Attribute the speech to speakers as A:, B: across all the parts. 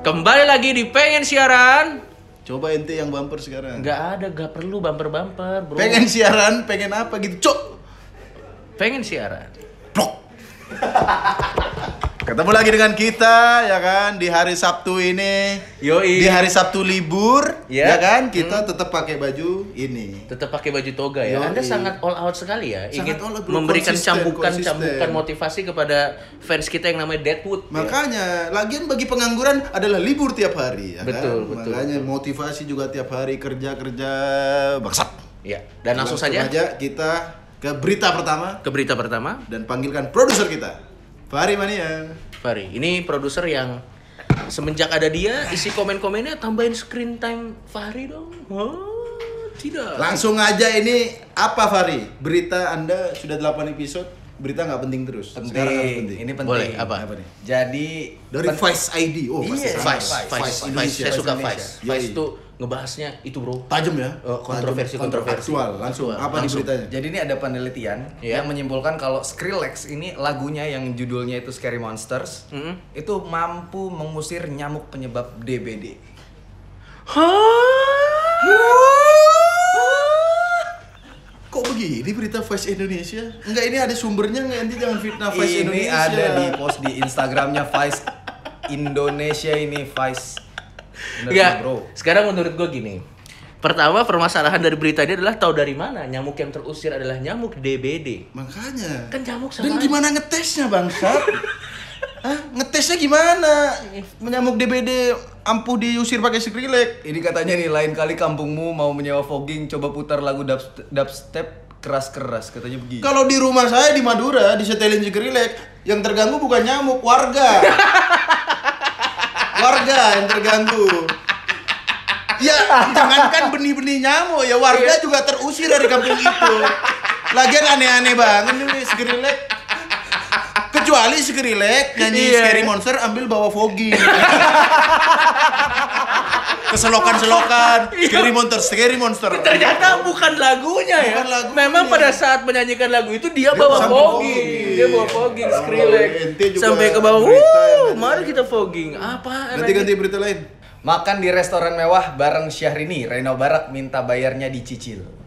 A: Kembali lagi di pengen siaran.
B: Coba ente yang bumper sekarang.
A: Nggak ada, nggak perlu bumper-bumper, bro.
B: Pengen siaran, pengen apa gitu, cok.
A: Pengen siaran.
B: Plok. Ketemu lagi dengan kita ya kan di hari Sabtu ini.
A: Yoi.
B: Di hari Sabtu libur
A: Ya.
B: ya kan kita tetap pakai baju ini.
A: Tetap pakai baju toga ya.
B: Yoi.
A: Anda sangat all out sekali ya.
B: Sangat
A: Ingin
B: all out, bro.
A: memberikan
B: Konsisten, konsisten.
A: cambukan-cambukan motivasi kepada fans kita yang namanya Deadwood. ya.
B: Makanya, lagian bagi pengangguran adalah libur tiap hari ya
A: Betul,
B: kan?
A: betul.
B: Makanya motivasi juga tiap hari kerja-kerja bangsat.
A: Ya. Dan langsung saja
B: kita ke berita pertama
A: ke berita pertama.
B: dan panggilkan produser kita. Fahri Mania.
A: Fari, ini produser yang semenjak ada dia isi komen-komennya tambahin screen time Fahri dong. Oh, tidak.
B: Langsung aja ini apa Fahri? Berita Anda sudah 8 episode, berita nggak penting terus. Sekarang harus
C: penting.
B: penting.
C: Ini penting.
A: Boleh, apa?
B: Apa nih?
C: Jadi
B: Dari
C: pen-
B: Vice ID. Oh, pasti
C: Iya.
B: sama.
A: Vice,
C: Vice,
A: Vice, Vice,
B: Vice Indonesia,
A: Saya
B: Vice
A: suka
B: Indonesia.
A: Vice. Vice
B: Yoi.
A: itu ngebahasnya itu bro.
B: Tajam ya?
A: Eh, kontroversi,
B: Tajam. Kontro-
A: kontroversi.
B: Aktual, langsung. Apa nih
A: Langsung.
B: beritanya?
C: Jadi ini ada penelitian
A: Iya.
C: yang menyimpulkan kalau Skrillex ini lagunya yang judulnya itu Scary Monsters
A: Mm-mm.
C: itu mampu mengusir nyamuk penyebab DBD.
B: Kok begini berita Vice Indonesia? Enggak, ini ada sumbernya nggak? Nanti jangan fitnah Nah, Vice
C: ini
B: Indonesia.
C: ada di post di Instagramnya Vice Indonesia ini Vice. Bener
A: Enggak.
C: bro.
A: Iya. Sekarang menurut gue gini. Pertama permasalahan dari berita ini adalah tahu dari mana nyamuk yang terusir adalah nyamuk DBD.
B: Makanya.
A: Kan nyamuk sama
B: Dan
A: aja.
B: gimana ngetesnya bangsat? Hah? Ngetesnya gimana? Menyamuk DBD ampuh diusir pakai Skrillex.
C: Ini katanya nih lain kali kampungmu mau menyewa fogging coba putar lagu dubst- dubstep keras-keras katanya begini.
B: Kalau di rumah saya di Madura disetelin Skrillex, yang terganggu bukan nyamuk, warga. warga yang terganggu. Ya, jangankan benih-benih nyamuk, ya warga juga terusir dari kampung itu. Lagian aneh-aneh banget nih Skrillex. Kecuali Skrillex nyanyi
A: Iya.
B: Scary Monster ambil bawa fogging. Keselokan-selokan, Scary Monster, Scary Monster.
A: Ternyata bukan lagunya ya.
B: Bukan lagunya.
A: Memang pada saat menyanyikan lagu itu dia,
B: Dia
A: bawa
B: sambil
A: fogging.
B: fogging.
A: Dia bawa fogging
B: Sama
A: Skrillex.
B: ente juga
A: Sampai ke bawah.
B: berita yang
A: Wuh,
B: ada.
A: mari kita fogging. Apa?
B: Ganti-ganti berita lain.
C: Makan di restoran mewah bareng Syahrini, Reno Barak minta bayarnya dicicil.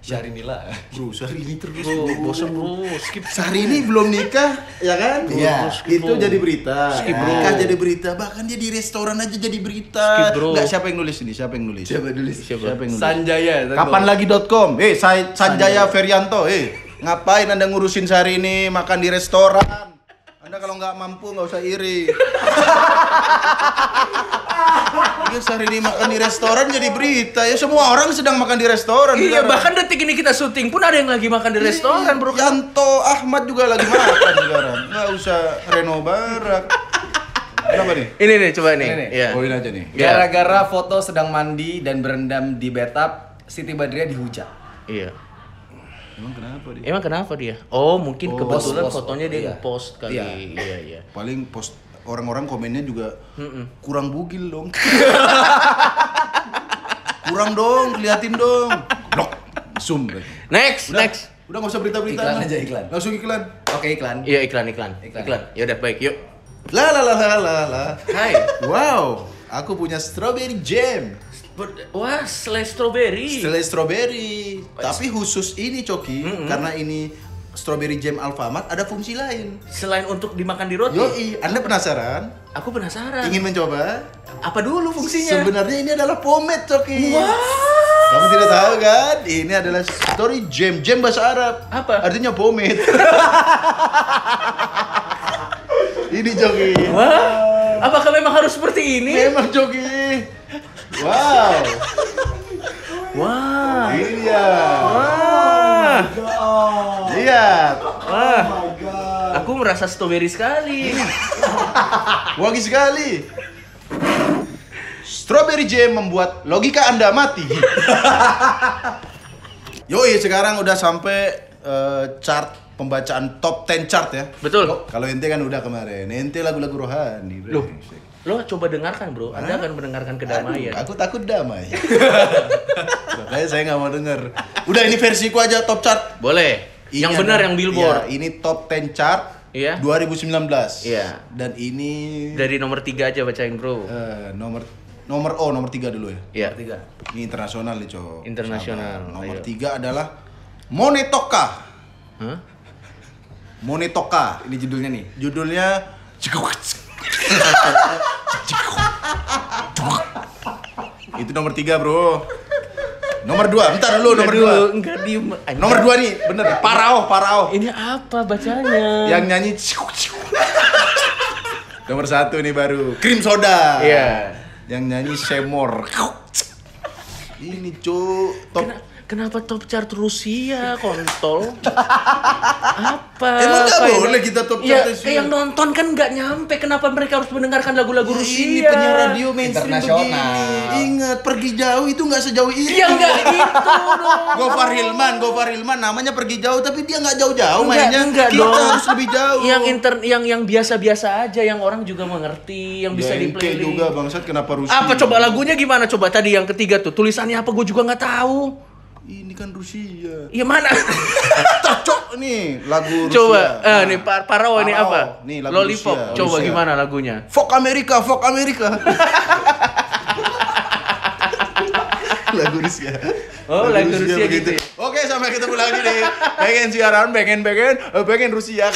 C: Syahrini lah.
B: Bro, sehari ini terus.
A: Bro, bosan bro. Skip.
B: Sehari ini belum nikah, ya kan?
C: Iya.
B: Itu jadi berita.
A: Skip, bro.
B: Nikah jadi berita. Bahkan dia di restoran aja
A: Skip,
B: jadi berita.
A: bro.
B: Nggak, siapa yang nulis ini? Siapa yang nulis? Siapa nulis? Siapa, yang nulis?
C: Sanjaya.
B: Kapan lagi.com? Eh, Sa- Sanjaya Ferianto. Eh, ngapain Anda ngurusin sehari ini makan di restoran? Anda kalau nggak mampu nggak usah iri. Iya, sehari ini makan di restoran jadi berita. Ya semua orang sedang makan di restoran.
A: Iya,
B: sekarang.
A: bahkan detik ini kita syuting pun ada yang lagi makan
B: iya.
A: di restoran, bro.
B: Yanto Ahmad juga lagi makan sekarang. Nggak usah Reno Barak. Kenapa nih?
A: Ini nih, coba nih.
C: Ini nih.
A: Iya.
B: Bawain aja nih.
C: Gara-gara foto sedang mandi dan berendam di bathtub, Siti Badriah dihujat.
A: Iya.
B: Emang kenapa dia?
A: Emang kenapa dia? Oh, mungkin kebetulan
C: Post, post,
A: fotonya dia
C: iya.
A: nge-post kali.
C: Iya.
A: Iya, iya.
B: Paling post orang-orang komennya juga kurang bugil dong. kurang dong, keliatin dong. Blok. Zoom. deh.
A: Next,
B: Udah,
A: next.
B: udah nggak usah berita-berita.
C: Iklan aja, iklan.
B: Langsung iklan.
C: Oke iklan.
A: Iya, iklan, iklan. Iklan.
C: Iklan.
A: Ya udah baik, yuk.
B: La la la la la la.
A: Hai.
B: Wow, aku punya strawberry jam.
A: Ber- Wah, selai strawberry.
B: Selai
A: Oh,
B: strawberry.
A: iya.
B: Tapi khusus ini Coki, karena ini strawberry jam Alfamart ada fungsi lain.
A: Selain untuk dimakan di roti,
B: Yoi, Anda penasaran?
A: aku penasaran.
B: Ingin mencoba?
A: Apa dulu Ah. fungsinya?
B: Sebenarnya ini adalah pomade Coki.
A: Wah.
B: Kamu tidak tahu kan? Ini adalah story jam, jam bahasa Arab.
A: Apa?
B: Artinya pomade. ini Coki.
A: Wah. Apakah memang harus seperti ini?
B: Memang Coki. Wow.
A: Wah.
B: Ini dia.
A: Wah.
B: Lihat.
A: Wah. Aku merasa strawberry sekali.
B: Wangi sekali. Strawberry jam membuat logika Anda mati. Yoi, sekarang udah sampai eh, chart pembacaan top 10 chart ya.
A: Betul.
B: Kalau ente kan udah kemarin, ente lagu-lagu rohani.
A: Loh, lo coba dengarkan bro, Anda akan mendengarkan kedamaian.
B: Aduh, aku takut damai. ya. Makanya saya nggak mau denger. Udah ini versiku aja top chart. Iya,
A: Boleh.
B: Ini
A: yang benar
B: ada-
A: yang billboard.
B: nah. Iya, ini top 10 chart
A: Iya.
B: 2019.
A: Iya.
B: Dan ini
A: Dari nomor 3 aja bacain bro.
B: eh, nomor nomor oh nomor tiga dulu ya.
A: Iya.
C: Tiga.
B: Ini internasional nih, Cok.
A: Internasional, iya.
B: Sabar. Nomor
A: ayo.
B: tiga adalah Monetoka.
A: Hah?
B: Monetoka.
C: Ini judulnya nih.
B: Judulnya Itu nomor tiga, Bro. Nomor dua, bentar dulu nomor
A: Aduh,
B: dua.
A: Enggak diem. Anjing.
B: Nomor dua nih, bener.
A: Iya.
B: Parao, parao.
A: Ini apa bacanya?
B: Yang nyanyi ciu, ciu. Nomor satu nih baru Krim Soda
A: Iya.
B: Yang nyanyi Semor Ini cu top
A: Kena- kenapa top chart Rusia kontol? apa?
B: Emang nggak
A: Kayak-
B: boleh kita top
A: Ya,
B: chart Rusia?
A: kayak yang nonton kan nggak nyampe. Kenapa mereka harus mendengarkan lagu-lagu Rusia?
B: Ini penyiar radio mainstream begini
C: Internasional.
B: Ingat pergi jauh itu nggak sejauh itu
A: Ya enggak gitu dong.
B: Gofar Hilman, Gofar Hilman namanya pergi jauh tapi dia nggak jauh-jauh
A: Enggak,
B: mainnya.
A: enggak
B: Kita
A: dong.
B: harus lebih jauh.
A: Yang inter yang yang biasa-biasa aja yang orang juga mengerti, yang bisa di
B: Bengke
A: playlist.
B: juga bangsat kenapa Rusia?
A: Apa coba lagunya gimana coba tadi yang ketiga tuh tulisannya apa gue juga nggak tahu.
B: Ini kan Rusia.
A: Iya mana?
B: Cocok nih lagu Rusia.
A: coba eh
B: Nah.
A: nih par Parao nih
B: Parao.
A: apa?
B: Nih, lagu
A: Lollipop.
B: Rusia,
A: Coba
B: Rusia.
A: gimana lagunya?
B: Fuck Amerika, fuck Amerika. lagu Rusia.
A: Oh, lagu Rusia gitu ya?
B: Oke, sampai ketemu lagi nih. Pengen siaran, pengen pengen, eh, pengen Rusia.